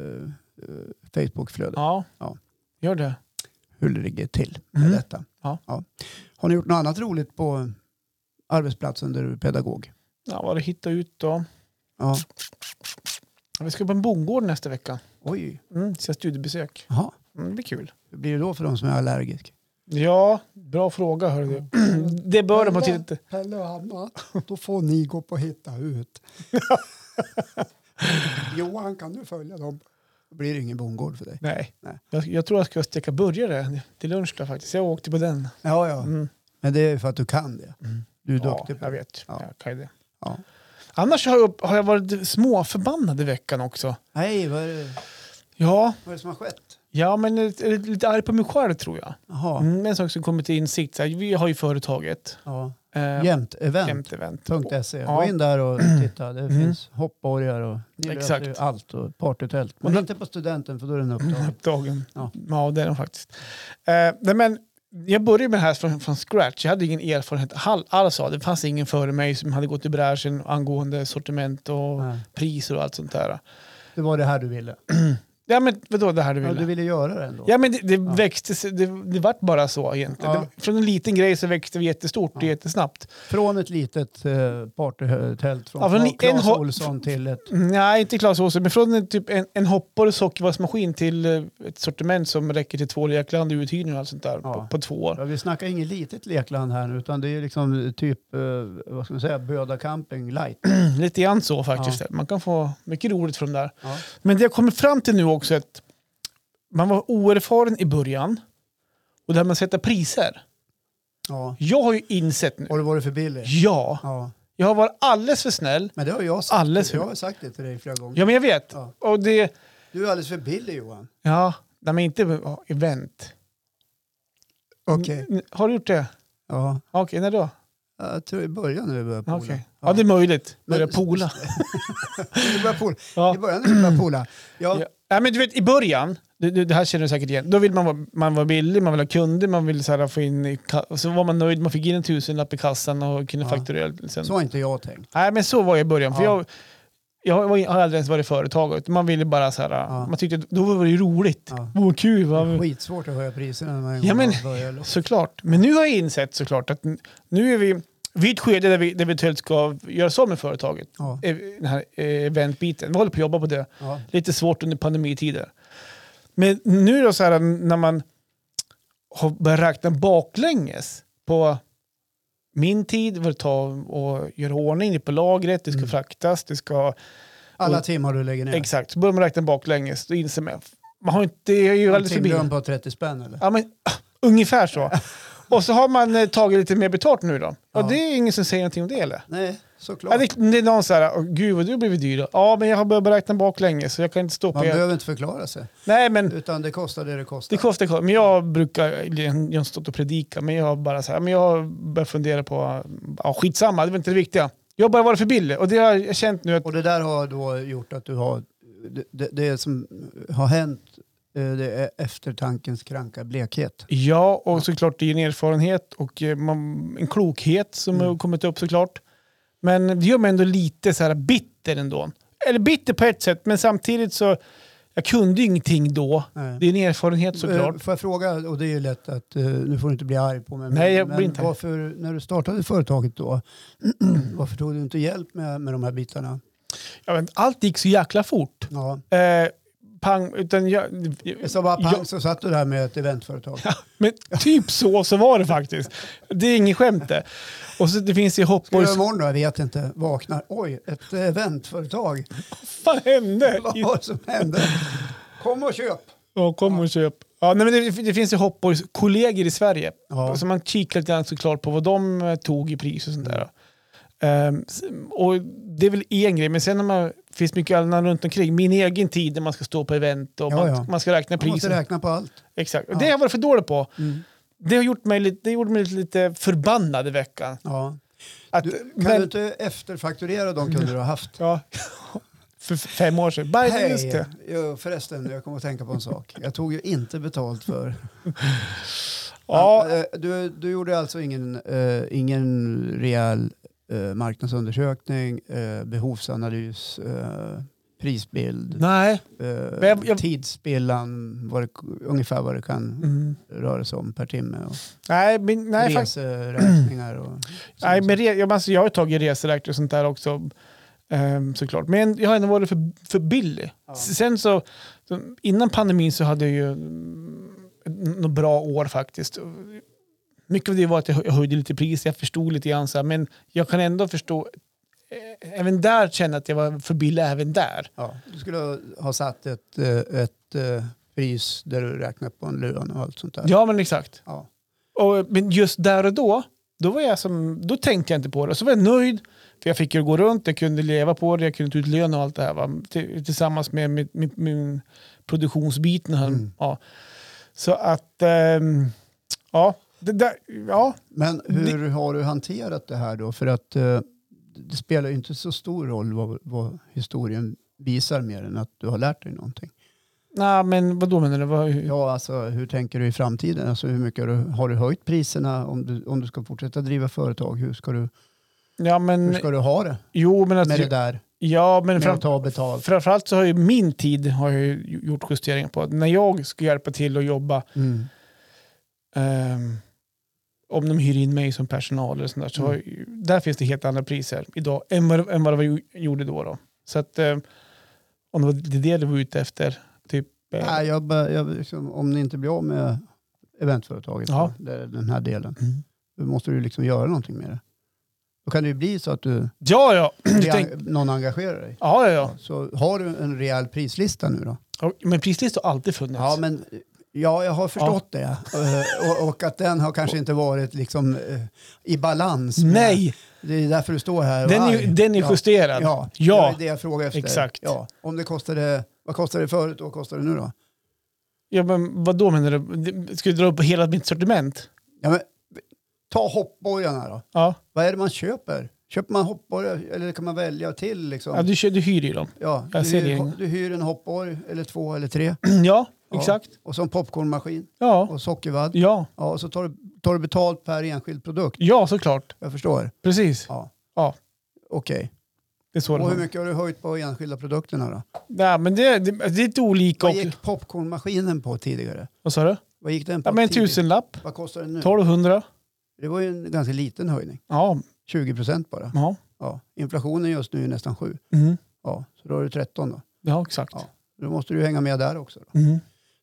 Facebookflöde
Ja.
Ja.
Gör det.
hur det ligger till med
Mm.
detta.
Ja.
Har ni gjort något annat roligt på arbetsplatsen där du är pedagog?
Ja, vad har du hittat ut då?
Ja.
Vi ska på en bondgård nästa vecka.
Oj,
Mm, så jag studiebesök.
Jaha.
Mm, det blir kul.
hur blir det då för de som är allergiker?
Ja, bra fråga hör du. Det bör de ha tittat
Pelle och Hanna, då får ni gå på hitta ut. Johan, kan du följa dem? Då blir det ingen bondgård för dig.
Nej,
Nej.
Jag, jag tror jag ska steka burgare till lunch där faktiskt. Jag åkte på den.
Ja, ja. Mm.
Mm.
Men det är för att du kan det. Du är duktig på
Ja, jag
det.
vet.
Ja.
Jag kan ju det.
Ja.
Annars har jag, upp, har jag varit småförbannad i veckan också.
Nej, vad är, det,
Ja,
vad är det som har skett?
ja men jag är lite arg på mig själv tror jag.
Jaha,
Mm, en sak som kommit till insikt, så här, vi har ju företaget.
ja.
Eh,
jämtevent.se.
Jämt event.
E. Gå
Ja.
in där och titta. Det finns hoppborgar och ni löser
Exakt.
ju allt och partytält.
Och
Men
den-
inte på studenten för då är den upptagen.
Dagen.
Ja.
Ja. det är de faktiskt. Eh, nej, men jag började med det här från, från scratch. Jag hade ingen erfarenhet all- alls av det. Det fanns ingen före mig som hade gått i bräschen angående sortiment och
Nej.
priser och allt sånt där.
Det var det här du ville.
Ja, men vadå det här du
Ja,
ville?
du ville göra det ändå.
Ja, men det, det växte, sig- det, det vart bara så egentligen.
Ja.
Det var- från en liten grej så växte vi jättestort och jättesnabbt.
Från ett litet eh, partytält från
Ja, från
Cla-
en
Claes
ho-
Olsson till ett...
Nej, inte Clas Ohlson, men från en, typ en, en hoppor och sockervassmaskin till eh, ett sortiment som räcker till två lekland och uthyrning och allt sånt där
Ja.
på, på två år.
Ja, vi snackar inget litet lekland här nu utan det är liksom typ, eh, vad ska man säga, Böda camping light.
Lite grann så faktiskt. Man kan få mycket roligt från där.
Ja.
Men det jag kommer fram till nu också är att man var oerfaren i början. Och det här med att sätta priser.
Ja.
Jag har ju insett nu.
Har du varit för billig?
Ja,
Ja.
jag har varit alldeles för snäll.
Men det har jag sagt.
Alldeles för-
jag har sagt det till dig flera gånger.
Ja, men jag vet.
Ja.
Och det...
Du är alldeles för billig Johan.
Ja, nej, men inte ja, event.
Okej.
N- Har du gjort det?
Ja.
Ja, Okej, när då?
Jag tror i början när vi började
Ja,
pola.
okej.
Ja.
Ja, det är möjligt. Börja
Men-
pola.
När vi började pola. I
Ja.
början när vi började pola. Ja.
Ja. Nej, men du vet, i början, det, det det här känner du säkert igen, då vill man vara, man vara billig, man vill ha kunder, man vill så här, få in, i ka- och så var man nöjd, man fick in en tusenlapp i kassan och kunde
Ja.
fakturera. Sen.
Så har inte jag tänkt.
Nej, men så var jag i början. För
Ja.
jag, jag var- har aldrig ens varit företagare, utan man ville bara så här, man tyckte att då var det ju roligt.
Ja.
Vad kul. Vad,
Skitsvårt att höja priserna när man
Ja, men-
börjar.
Såklart. Men nu har jag insett såklart att n- nu är vi vid ett skede där vi, där vi eventuellt ska göra så med företaget.
Ja.
Eh, Den här eh, eventbiten. Vi håller på att jobba på det.
Ja.
Lite svårt under pandemitider. Men nu då så här när man har börjat räkna baklänges på min tid, vad det tar att göra ordning, det är på lagret, det ska
Mm.
fraktas, det ska...
Alla timmar du lägger ner.
Exakt, så börjar man räkna baklänges. Då inser man, man har inte... Det är ju
En
alldeles förbi.
timlön på 30 spänn eller?
Ja, men, ah, ungefär så. Och så har man eh, tagit lite mer betalt nu då. Och
Ja.
det är ingen som säger någonting om det eller?
Nej,
Ja,
såklart.
det, det är någon så här, "Åh, gud vad du har blivit dyr. då." Ja, men jag har börjat räkna baklänges så jag kan inte stå på
Man
er.
behöver inte förklara sig.
Nej, men
Utan det kostar det det kostar.
det kostar, kostar. Men jag brukar, eller jag har inte stått och predika, men jag har bara så här, men jag har börjat fundera på, ja skitsamma, det var inte det viktiga. Jag har bara varit för billig och det har jag känt nu att,
Och det där har då gjort att du har... Det, det, det som har hänt eh, det är eftertankens kranka blekhet.
ja, och såklart det är en erfarenhet och eh, man, en klokhet som
Mm.
har kommit upp såklart. Men det gör mig ändå lite så här bitter ändå. Eller bitter på ett sätt, men samtidigt så, jag kunde ju ingenting då.
Nej.
Det är en erfarenhet såklart.
Eh, Får jag fråga, och det är ju lätt att, eh, nu får du inte bli arg på mig, men,
Nej, jag blir
men
inte arg.
varför, när du startade företaget då, varför tog du inte hjälp med, med de här bitarna?
Jag vet, inte, allt gick så jäkla fort.
Ja.
Eh, pang, utan jag,
Så bara pang
Ja.
så satt du där med ett eventföretag.
men typ så så var det faktiskt. Det är inget skämt det. Och så det finns ju
Ska
hoppborgs...
jag imorgon då? Jag vet inte. Vaknar. Oj, ett eventföretag.
Vad hände?
Vad var det som hände? Kom och köp.
Ja, kom och köp. Ja, nej, men det, det finns ju hoppborgskollegor i Sverige.
Ja.
Så man kikar lite grann såklart på vad de eh, tog i pris och sånt där. Ehm, s- och det är väl en grej, men sen när man det finns mycket annat runt omkring. Min egen tid när man ska stå på event och
Ja,
man,
ja.
man ska räkna
Man måste
priser.
räkna på allt.
Exakt. Och
Ja.
Det har jag varit för dålig på.
Mm.
Det, har gjort mig, lite- det gjorde mig lite förbannad i veckan.
Ja.
Att,
Du, kan
men-
du inte efterfakturera de kunder du har haft?
Ja. för fem år sedan. Biden, just
Hej!
det.
Jo, förresten, jag kommer att tänka på en sak. Jag tog ju inte betalt för...
Ja,
Men, eh, Du, du gjorde alltså ingen, eh, ingen rejäl eh, marknadsundersökning, eh, behovsanalys, eh, prisbild,
nej.
eh,
jag- jag-
tidsspillan, vad det, ungefär vad det kan
Mm.
röra sig om per timme. Och
Nej, men, nej, faktiskt.
reseräkningar och...
Nej, men re, jag, alltså, jag har ju tagit reseräkning och sånt där också ehm, såklart. Men jag har ändå varit för, för billig.
Ja.
Sen så, så- innan pandemin så hade jag ju mm, något bra år faktiskt. Mycket av det var att jag hö- jag höjde lite pris, jag förstod lite grann så här, men jag kan ändå förstå, eh, även där känna att jag var för billig även där.
Ja, du skulle ha satt ett, eh, ett eh, pris där du räknat på en lön och allt sånt där.
Ja, men exakt.
Ja.
Och, men just där och då, då, var jag som, då tänkte jag inte på det. Så var jag nöjd, för jag fick ju gå runt, jag kunde leva på det, jag kunde ta ut lön och allt det här. Va? Till- Tillsammans med min, min, min produktionsbiten. Här.
Mm.
Ja. Så att, ehm, ja. Det där, ja.
Men hur har du hanterat det här då? För att eh, det spelar ju inte så stor roll vad, vad historien visar mer än att du har lärt dig någonting.
Mm. Nej, men vad då menar du? Vad, hur-
Ja, alltså hur tänker du i framtiden? Alltså hur mycket har du, har du höjt priserna om du, om du ska fortsätta driva företag? Hur ska du,
ja,
hur
men,
ska du ha det
jo, men
med
Mm. alltså,
det där?
ja, men
Med
fram,
att ta betalt?
framförallt så har ju min tid har jag ju gjort justeringar på. När jag ska hjälpa till och jobba
Mm.
Ehm, om de hyr in mig som personal eller sånt där, så
Mm.
har, där finns det helt andra priser idag än vad, än vad vi gjorde då. då. Så att ehm, om det var det det du var ute efter, typ... eh,
Nej, jag, bara- jag, liksom, om ni inte blir av med eventföretaget,
Ja.
ja. den här delen,
Mm.
då måste du liksom göra någonting med det. Då kan det ju bli så att du,
Ja, ja. Du
det-
tänk,
någon engagerar dig.
ja, ja, ja.
Så har du en rejäl prislista nu då?
ja. Men prislistor har alltid funnits.
Ja, men, ja jag har förstått det. Eh, Och, och att den har kanske inte varit liksom, eh, i balans. med-
Nej,
Det är därför du står här och
den är,
arg.
ju- den är
ja.
justerad.
Ja,
Ja.
det är det jag frågar efter.
Exakt.
Ja. Om det kostade, vad kostade det förut och vad kostar det nu då?
Ja, men vad då menar du? Det- Ska du dra upp hela mitt sortiment?
Ja, men, ta hoppborgarna då.
Ja,
Vad är det man köper? Köper man hoppborgar eller kan man välja till? Liksom?
ja du, kör, du hyr ju dem.
Ja,
jag
du,
ser
hyr-
det.
du hyr en hoppborg eller två eller tre.
ja,
Ja.
exakt.
Och så en popcornmaskin
Ja,
och sockervadd.
ja,
Ja, och så tar du, tar du betalt per enskild produkt.
ja såklart.
Jag förstår.
Precis.
Ja.
Ja.
Okej.
Det är så det
Och hur
funkar.
mycket har du höjt på enskilda produkterna då?
Nej, men det, det, det är lite olika.
Vad
Och,
gick popcornmaskinen på tidigare?
vad sa du?
Vad Mm. gick den på
Ja, men en
tidigare?
tusenlapp,
Vad kostar den nu?
1200.
Det var ju en ganska liten höjning.
Ja,
20 procent bara.
ja.
Ja. Inflationen just nu är nästan 7.
Mm.
Ja. Så då har du 13 då.
ja exakt.
Ja. Då måste du hänga med där också. Då.
Mm.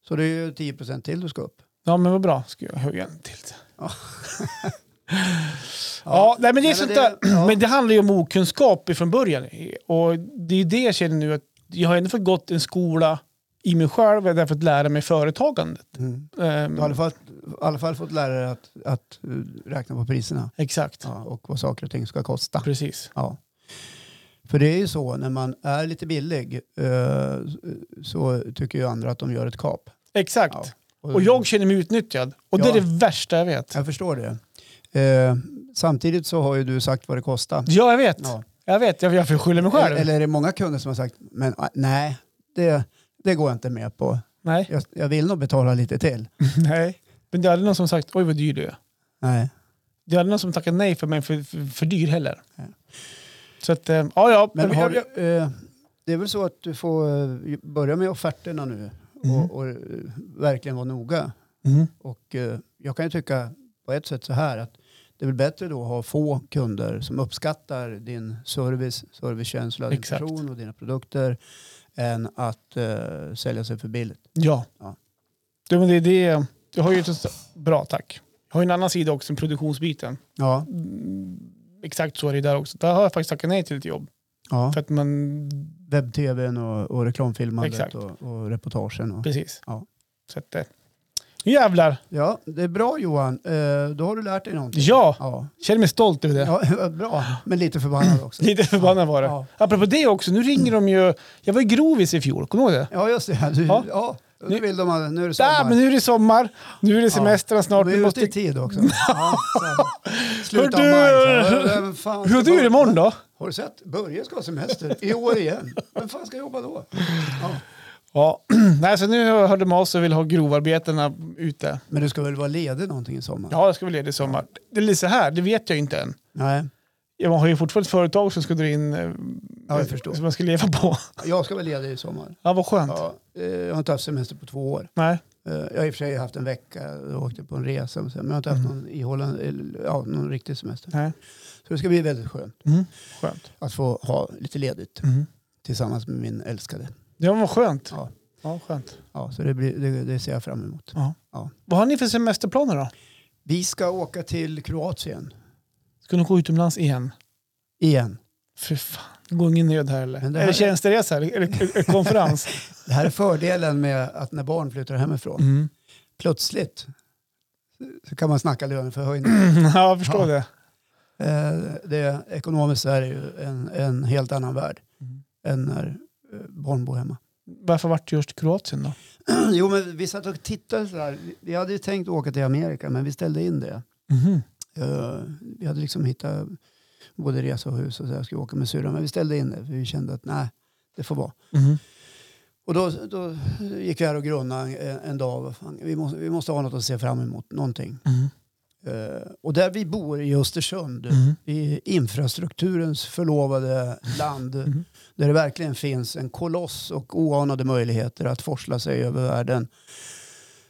Så det är ju 10 procent till du ska upp.
Ja, men vad bra. Ska jag höja en till? Ja,
Ja.
nej, men det är sånt där.
ja.
Men det handlar ju om okunskap från början. Och det är ju det jag känner nu att jag har ändå fått gått en skola i mig själv, jag har fått lära mig företagandet.
Mm.
Ehm,
Du har i alla fall, i alla fall fått lära dig att, att eh, räkna på priserna
Exakt,
ja, och vad saker och ting ska kosta.
precis.
Ja. För det är ju så, när man är lite billig eh, så tycker ju andra att de gör ett kap.
Exakt.
Ja.
Och jag känner mig utnyttjad. Och det
Ja.
är det värsta jag vet.
Jag förstår det. Eh, samtidigt så har ju du sagt vad det kostar.
Ja, jag vet.
Ja.
Jag vet, jag, jag får skylla mig själv.
Eller, eller är det många kunder som har sagt, men ah, nej, det, det går jag inte med på.
Nej.
Jag, jag vill nog betala lite till.
nej. Men det är aldrig någon som sagt, oj vad dyr du är.
Nej.
Det är aldrig någon som tackar nej för mig för, för, för dyr heller.
Ja.
Så att, eh, ja ja.
Men
Jag-
har,
jag-
du- eh, det är väl så att du får eh, börja med offerterna nu
Mhm.
och, och eh, verkligen vara noga.
Mhm.
Och eh, jag kan ju tycka på ett sätt så här att det är väl bättre då att ha få kunder som uppskattar din service, servicekänsla, din
Exakt.
person och dina produkter än att eh, sälja sig för billigt.
Ja.
Ja.
Det, men det, det, jag har ju ett, bra tack. Jag har ju en annan sida också, produktionsbiten.
Ja,
Mm, exakt så är det där också. Där har jag faktiskt tackat nej till ett jobb.
ja.
För att man,
webb-tvn och, och reklamfilmandet
Exakt.
och, och reportagen. Och,
precis.
Ja.
Så att, eh, Nu jävlar!
Ja, det är bra Johan. Eh, Då har du lärt dig någonting.
Ja,
Ja,
känner mig stolt över det.
ja bra. Men lite förbannad också.
Lite förbannad var det.
Ja.
Apropå det också, nu ringer de ju... Jag var ju grovis i fjol, kommer du ihåg det?
Ja, just det. Du,
Ja.
ja. nu vill de ha, nu är det
Där, Äh, men
sommar.
nu är det sommar, nu är det semestern snart.
Vi
Vi
är ute
måste...
i tid också. Ja, så här. Slutet av
Hur
maj. så här.
du-
Ja, vem fan
Hur
ska
har du
bara-
gjort imorgon då?
Har du sett? Börje ska ha semester i år igen. Vem fan ska jobba då? Ja.
Ja, nej så nu hörde de av sig och vill ha grovarbetena ute.
Men du ska väl vara ledig någonting i sommar?
Ja, jag ska väl ledig i sommar. Det är lite så här, det vet jag inte än.
Nej,
Jag har ju fortfarande ett företag som ska dra in, eh,
ja, jag förstår.
som man ska leva på.
Jag ska vara ledig i sommar.
Ja, vad skönt.
Ja, eh, jag har inte haft semester på två år.
Nej.
Eh, Jag har i och för sig haft en vecka, jag åkte på en resa, men sen- men jag har inte haft
Mm.
någon, ihållande, eller, ja, någon riktig semester.
nej.
Så det ska bli väldigt skönt
Mm. Skönt.
att få ha lite ledigt
Mm.
tillsammans med min älskade.
Ja, vad skönt.
Ja.
Ja, skönt.
Ja, så det, blir, det, det ser jag fram emot.
Vad har ni för semesterplaner då?
Vi ska åka till Kroatien
Ska ni gå utomlands igen?
igen.
Fy fan, det går ingen nöd här eller?
Men det
Eller
här-
tjänsteresa eller, eller, eller konferens?
Det här är fördelen med att när barn flyttar hemifrån,
Mm.
plötsligt så kan man snacka löneförhöjning.
Ja, jag förstår
Ja.
det.
Eh, det, ekonomiskt så är det ju en, en helt annan värld
Mm.
än när eh, barn bor hemma.
Varför vart det just Kroatien då?
Jo, men vi satt och tittade så här. Vi hade ju tänkt åka till Amerika, men vi ställde in det.
Mhm.
Eh, vi hade liksom hittat både resa och hus och så här, skulle åka med syrran, men vi ställde in det. För vi kände att nej, det får vara.
Mhm.
Och då, då gick vi här och grunnade en, en dag. Vad fan, Vi måste, vi måste ha något att se fram emot, någonting.
Mhm.
Eh, och där vi bor i Östersund,
Mhm.
i infrastrukturens förlovade land,
Mhm.
där det verkligen finns en koloss och oanade möjligheter att forsla sig över världen,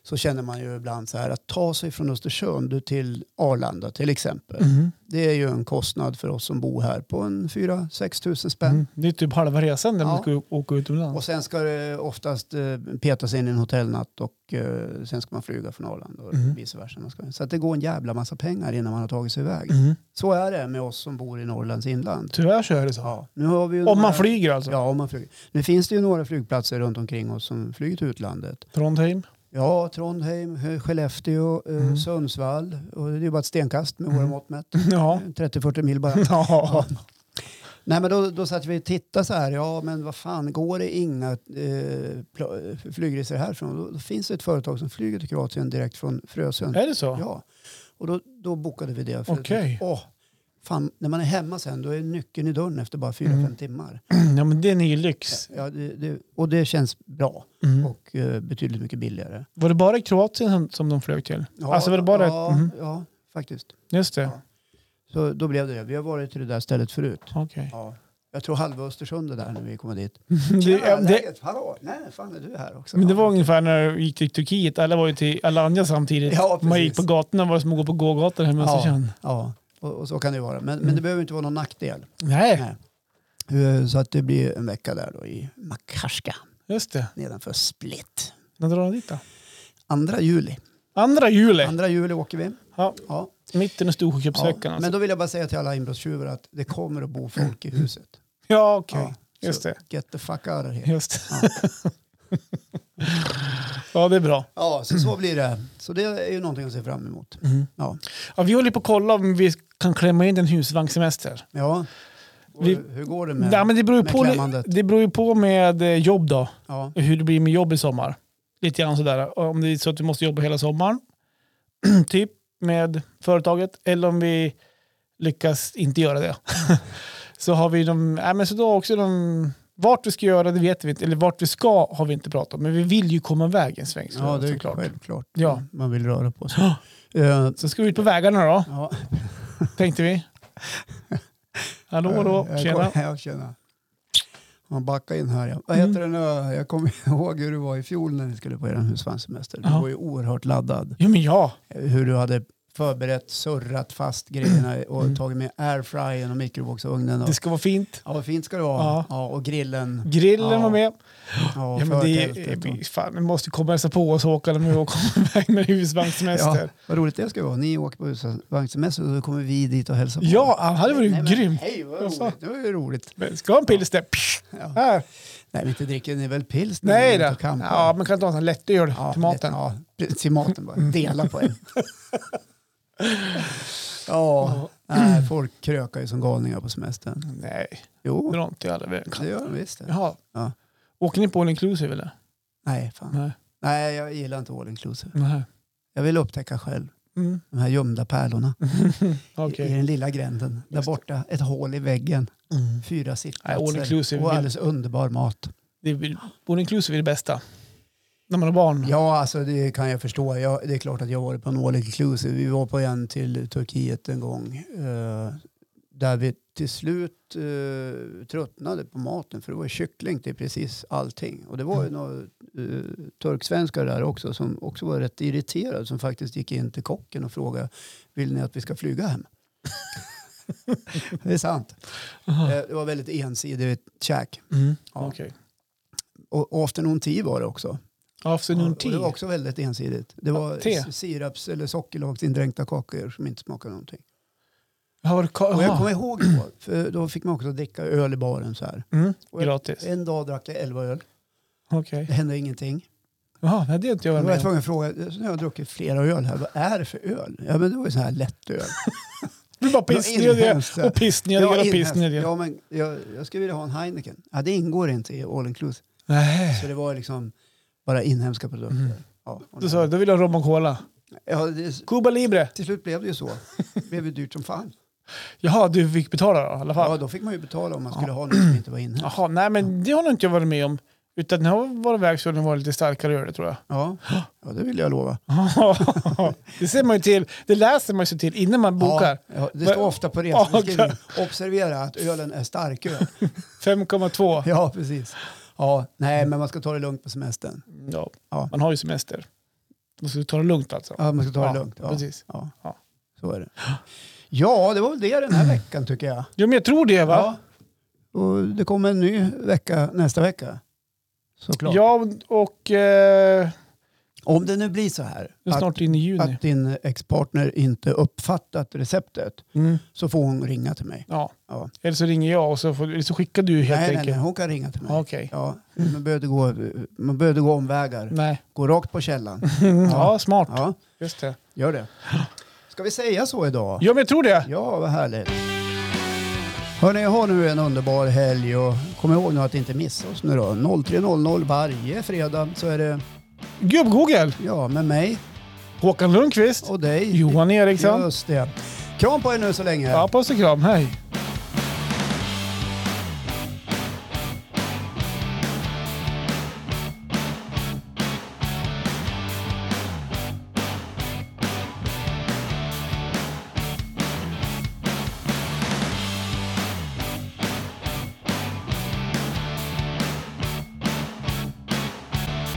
så känner man ju ibland så här att ta sig från Östersund till Arlanda till exempel.
Mhm.
Det är ju en kostnad för oss som bor här på en 4-6 tusen spänn.
Mm. Det är typ halva resan när man
Ja.
ska åka utomlands.
Och sen ska det oftast eh, petas in i en hotellnatt och eh, sen ska man flyga från Arlanda och
Mm.
vice versa. Man ska- Så att det går en jävla massa pengar innan man har tagit sig iväg.
Mhm.
Så är det med oss som bor i Norrlands inland.
Tyvärr så är det så.
Ja, nu har vi ju
Om
några-
man flyger alltså.
Ja, om man flyger. Nu finns det ju några flygplatser runt omkring oss som flyger till utlandet.
Trondheim.
Ja, Trondheim, eh, Skellefteå, eh,
Mm.
Sundsvall. Och det är ju bara ett stenkast med
Mm.
våra mått mätt.
Ja.
30-40 mil bara.
ja.
Nej men då, då satt vi och tittade så här, ja men vad fan, går det inga eh, pl- eh, flygresor härifrån? Då, då finns det ett företag som flyger till Kroatien direkt från Frösön.
Är det så?
Ja. Och då, då bokade vi det. att-
Okej.
Åh, fan, när man är hemma sen då är nyckeln i dörren efter bara fyra
Mm.
fem timmar.
Ja, men den är ju lyx.
Ja, det, det, och det känns bra
Mm.
och eh, betydligt mycket billigare.
Var det bara Kroatien som, som de flög till?
Ja,
alltså var det bara...
Ja,
Mhm.
ja faktiskt.
Just det.
Ja. Så då blev det det. Vi har varit till det där stället förut.
Okej.
Ja. Jag tror halva Östersund är där när vi kommer dit.
Det,
Tjena,
ja, det,
läget? Hallå? Nej, fan är du här också?
men det var
Ja.
ungefär när vi gick till Turkiet. Alla var ju till Alanya samtidigt.
Ja, precis.
man gick på gatorna var det som att gå på gågator hemma i
Ja.
Östersund.
Ja, och, och så kan det vara. Men,
Mm.
men det behöver inte vara någon nackdel.
Nej,
Nej. Eh, Så att det blir en vecka där då i Makarska
just det.
nedanför Split.
När drar de dit då?
Andra juli.
Andra juli.
Andra juli åker vi.
Ja,
Ja,
mitten av
ja.
Storsjököpsveckan.
Men
Alltså.
då vill jag bara säga till alla inbrottstjuvar att det kommer att bo folk i huset.
Ja, okej.
Ja,
Just
så
det. Mm.
Get the fuck out of here.
Just det. ja, det är bra.
Ja, så så blir det. Så det är ju någonting att se fram emot.
Mm.
Ja.
Ja, vi håller på att kolla om vi kan klämma in en husvagnssemester.
ja. Och
Vi-
hur går det med...
Nej, men det, beror ju
med
på, li-
klämmandet.
det beror ju på med eh, jobb då,
Ja.
hur det blir med jobb i sommar. Lite grann sådär. Om det är så att vi måste jobba hela sommaren, typ med företaget, eller om vi lyckas inte göra det. så har vi de, nej, men så då också de, vart vi ska göra det vet vi inte, eller vart vi ska har vi inte pratat om, men vi vill ju komma iväg en sväng. så-
ja, det är
såklart.
självklart.
Ja.
Man vill röra på sig.
Ja.
Eh,
Så ska vi ut på vägarna då,
Ja.
tänkte vi. Hallå, hallå,
Eh, Jag
tjena. Mm.
kom- Ja, tjena. Man backar in här. Ja. Vad heter den? Jag kommer ihåg hur du var i fjol när ni skulle på er husvagnssemester. Du
Ja.
var ju oerhört laddad.
Jo, men ja.
Hur du hade förberett, surrat fast grejerna och
Mm.
tagit med airfryern och mikrovågsugnen. Och,
Det ska vara fint.
ja, vad fint ska det vara.
Ja.
Ja. och grillen.
Grillen
Ja.
var med.
Ja,
Ja, men det
förtältet och-
är, fan, vi måste komma och hälsa på oss Håkan om vi kommer iväg med
ja,
husvagnssemester.
vad roligt det ska vara. Ni åker på husvagnssemester och då kommer vi dit och hälsar på.
Ja, han hade varit
Nej, men
grymt.
Hej, vad
Alltså.
roligt. Det var ju roligt.
Men Ska ha en pilsner? Psh,
Ja.
Här.
Nej, men inte dricker ni väl pils? när ni
Nej
är ute
då.
och campar?
Ja, man kan inte ha sån lättöl
Ja,
till maten.
det- Ja, pre- till maten bara.
Mm.
Dela på en. ja, nej, folk krökar ju som galningar på semestern.
Nej,
Jo,
dra inte i alla vägar.
det gör de visst. det.
Jaha.
Ja.
Åker ni på all inclusive eller?
Nej, fan.
Nej.
Nej, jag gillar inte all inclusive.
Nej.
Jag vill upptäcka själv
Mm.
de här gömda pärlorna
Okej.
i, i den lilla gränden. Där
Just det.
borta, ett hål i väggen,
Mm.
fyra
Nej, all
sittplatser
inclusive
och
vill-
alldeles underbar mat.
Det är, all inclusive är det bästa. När man har barn.
Ja, alltså det kan jag förstå. Jag, det är klart att jag har varit på en all inclusive. Vi var på en till Turkiet en gång. Eh, där vi till slut eh, tröttnade på maten. För det var ju kyckling till precis allting. Och det var ju några eh, turksvenskar där också som också var rätt irriterade. Som faktiskt gick in till kocken och frågade vill ni att vi ska flyga hem? det är sant.
Aha.
Eh, det var väldigt ensidigt käk.
Mm.
Ja.
Okej.
Och, och afternoon tea var det också. Ja,
Afternoon
och det var
tea.
också väldigt ensidigt. Det var
te.
s- siraps eller sockerlagsindränkta kakor som inte smakade någonting.
Ja, var det ka-
Och jag
Jaha.
kommer ihåg då, för då fick man också dricka öl i baren så här.
Mm.
Och jag-
Gratis.
En dag drack jag 11 öl,
Okej.
det hände ingenting.
Jaha, nej, det har inte jag
Då
varit
var jag
med om.
tvungen att fråga, så nu har jag druckit flera öl här, vad är det för öl? Ja men det var ju sån här lättöl.
Du bara
Det var
pissnödiga
inhemskt, så här.
och pissnödiga och
inhemskt.
pissnödiga.
ja men jag, jag skulle vilja ha en Heineken. Ja det ingår inte i all inclusive.
Nej.
Så det var liksom bara inhemska produkter. Ja, och
Mhm. Du sa jag, då vill jag ha rom och cola.
ja, det,
Cuba Libre.
till slut blev det ju så. Det blev ju dyrt som fan.
Jaha, du fick betala då, i alla fall.
Ja, då fick man ju betala om man skulle ha något som inte var inne.
Jaha, nej men det har nog inte jag varit med om. Utan jag har varit iväg så det var lite starkare öl tror jag.
Ja. ja, det vill jag lova.
det ser man ju till. Det läser man sig till innan man bokar.
Ja, ja, det står ofta på resebeskrivningen. Observera att ölen är starköl.
5,2.
Ja, precis. Ja, nej, men man ska ta det lugnt på semestern.
Ja.
Ja.
Man har ju semester. Man ska ta det lugnt alltså.
Ja, man ska ta det lugnt. Ja,
Precis.
Ja.
Ja.
Så är det. Ja, det var väl det den här veckan tycker jag.
Jo men jag tror det va?
Ja. Och det kommer en ny vecka nästa vecka. Såklart.
Ja, och eh,
Om det nu blir så här
det är
att,
snart in i juni.
att din ex-partner inte uppfattat receptet
Mm.
så får hon ringa till mig.
Ja.
Ja.
Eller så ringer jag och så, får, eller så skickar du helt
Nej, nej,
enkelt.
nej, hon kan ringa till mig.
Okej.
Ja, man behövde gå, man behövde gå omvägar.
Nej.
Gå rakt på källan.
Ja. smart.
Mm. Ja,
Just det.
gör det. Ska vi säga så idag?
Ja, men jag tror det.
Ja, vad härligt. Hörni, jag har nu en underbar helg och kom ihåg nu att inte missa oss nu då. 03.00 varje fredag så är det
Gubb-Google.
ja med mig
Håkan Lundqvist.
och dig.
Johan Eriksson.
Just det. Kram på er nu så länge.
Ja, puss och kram. Hej.